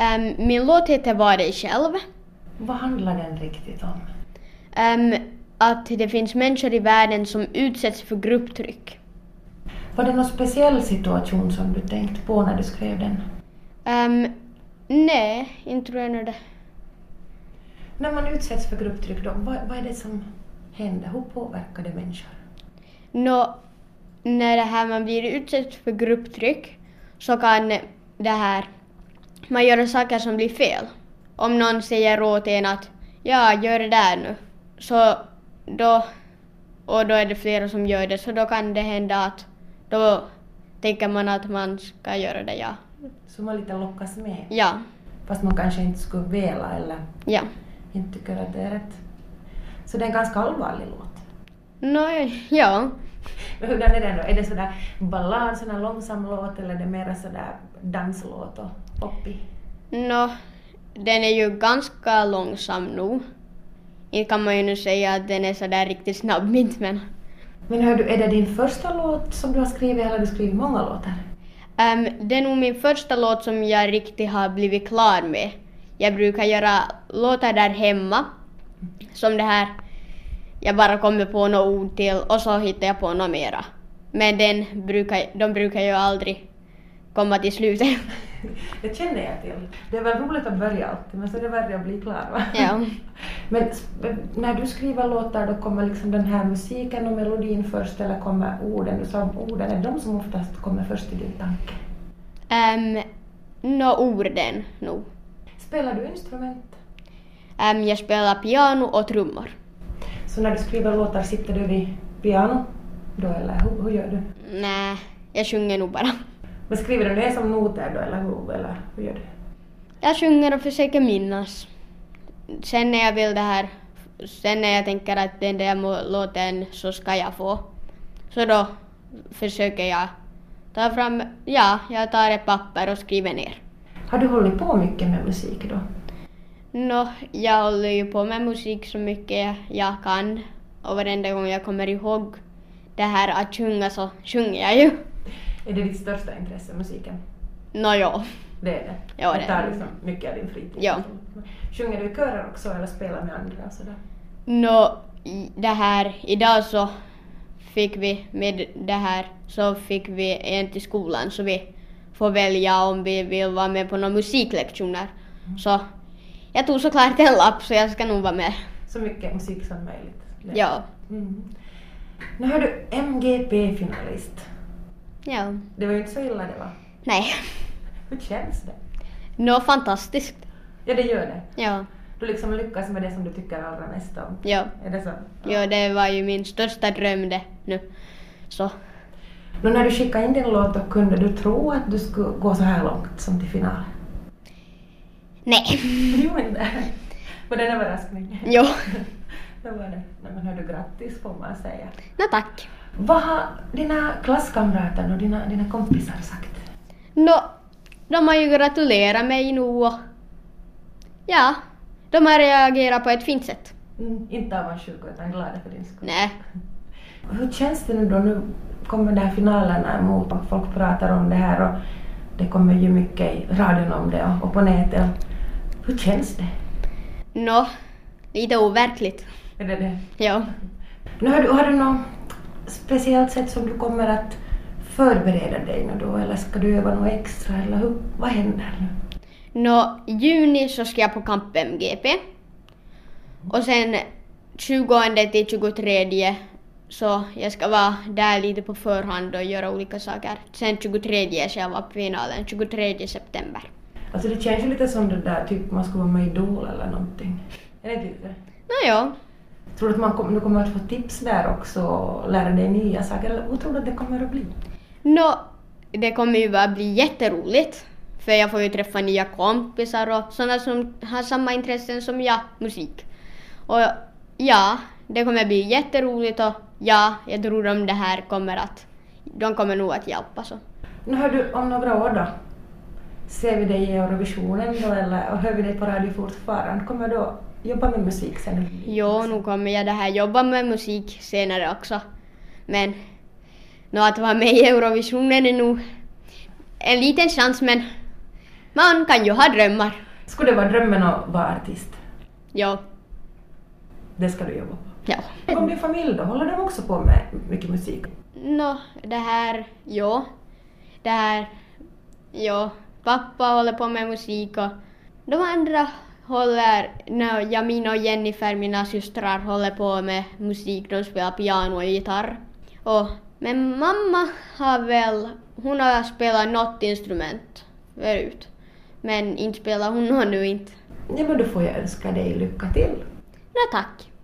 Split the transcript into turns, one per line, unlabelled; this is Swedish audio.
Ehm, min låt heter Var dig själv.
Vad handlar den riktigt om?
Ehm, att det finns människor i världen som utsätts för grupptryck.
Var det någon speciell situation som du tänkt på när du skrev den?
Ehm, nej, inte tror jag nu det.
När man utsätts för grupptryck, då, vad, vad är det som händer? Hur påverkar det människor?
Nå, när det här man blir utsatt för grupptryck så kan det här, man göra saker som blir fel. Om någon säger åt en att ja, gör det där nu, så då, och då är det flera som gör det, så då kan det hända att då tänker man att man ska göra det, ja.
Så man lite lockas med,
Ja,
fast man kanske inte skulle vela eller
ja.
inte tycker att det är rätt. Så det är en ganska allvarlig låt.
Nå, ja.
Men hurdan är den då? Är det sådär ballad, sån här långsam låt eller är det mera sådär danslåt och poppig?
Nå, den är ju ganska långsam nog. Inte kan man ju nu säga att den är sådär riktigt snabb inte men.
Men hör du, är det din första låt som du har skrivit eller har du skrivit många låtar?
Ehm, det är nog min första låt som jag riktigt har blivit klar med. Jag brukar göra låtar där hemma, som det här. Jag bara kommer på några ord till och så hittar jag på något mera. Men den brukar, de brukar ju aldrig komma till slutet.
Det känner jag till. Det är väl roligt att börja alltid men så är det värre att bli klar va?
ja.
Men s- när du skriver låtar då kommer liksom den här musiken och melodin först eller kommer orden? Du sa om orden, är det de som oftast kommer först i din tanke?
Um, Nå orden nog.
Spelar du instrument?
Ehm, jag spelar piano och trummor.
Så när du skriver låtar sitter du vid piano då eller hur, hur gör du?
Nej, jag sjunger nog bara.
Men skriver du det som noter då eller hur, eller hur gör du?
Jag sjunger och försöker minnas. Sen när jag vill det här, sen när jag tänker att den där må- låten så ska jag få. Så då försöker jag ta fram, ja, jag tar ett papper och skriver ner.
Har du hållit på mycket med musik då?
Nå, jag håller ju på med musik så mycket jag kan och varenda gång jag kommer ihåg det här att sjunga så sjunger jag ju.
Är det ditt största intresse, musiken?
Nå, ja.
Det är det?
Ja, det
det
är
tar
det.
liksom mycket av din fritid?
Ja.
Sjunger du i körer också eller spelar med andra och sådär?
Nå, i- det här, idag så fick vi med det här så fick vi en till skolan så vi får välja om vi vill vara med på några musiklektioner. Så jag tog såklart en lapp så jag ska nog vara med.
Så mycket musik som möjligt? Det-
Ja.
Mm. Nu hör du MGP-finalist.
Ja.
Det var ju inte så illa det var.
Nej.
Hur känns det?
Nå, fantastiskt.
Ja, det gör det.
Ja.
Du liksom lyckas med det som du tycker allra mest om.
Ja.
Är det så?
Ja, det var ju min största dröm det nu. Så.
Nå, när du skickade in din låt, då kunde du tro att du skulle gå så här långt som till finalen?
Nej.
Du gjorde inte det? Var det en överraskning?
Jo.
Det var det. Nej, men hördu, grattis får man säga.
Nå, tack.
Vad har dina klasskamrater och dina, dina kompisar sagt?
Nå, de har ju gratulerat mig nu och ja, de har reagerat på ett fint sätt.
Mm, inte avundsjuka utan glada för din skull.
Nej.
Hur känns det nu då? Nu kommer de här finalerna emot och folk pratar om det här och det kommer ju mycket i radion om det och, och på nätet. Hur känns det?
Nå, lite overkligt.
Är det det?
Ja.
Nu har, du, har du något speciellt sätt som du kommer att förbereda dig nu då eller ska du öva något extra eller hur, vad händer nu?
Nå, i juni så ska jag på Kamp MGP. Och sen 20 till 23 så jag ska vara där lite på förhand och göra olika saker. Sen 23 ska jag vara på finalen, 23 september.
Alltså det känns ju lite som det där typ man skulle vara med i Idol eller någonting. Är det inte lite?
Nå, ja.
Tror du att man kom, du kommer att få tips där också och lära dig nya saker? Eller hur tror du att det kommer att bli?
Nå, det kommer ju bara bli jätteroligt. För jag får ju träffa nya kompisar och sådana som har samma intressen som jag, musik. Och ja, det kommer bli jätteroligt och ja, jag tror de det här kommer att, de kommer nog att hjälpa så.
Nu hör du om några år då. Ser vi dig i Eurovisionen då eller och hör vi dig på radio fortfarande? Kommer du att jobba med musik sen?
Jo, nu kommer jag det här jobba med musik senare också. Men nå, att vara med i Eurovisionen är nog en liten chans men Man kan ju ha drömmar.
Skulle det vara drömmen att vara artist?
Jo.
Det ska du jobba på.
Ja.
Tänk om din familj då, håller de också på med mycket musik?
Nå, det här, jo. Det här, jo. Pappa håller på med musik och de andra håller, no, Jamin och Jennifer, mina systrar, håller på med musik. De spelar piano och gitarr. Och, men mamma har väl, hon har spelat något instrument förut. Men inte spelar hon något nu inte.
Ja men då får jag önska dig lycka till.
Nå tack.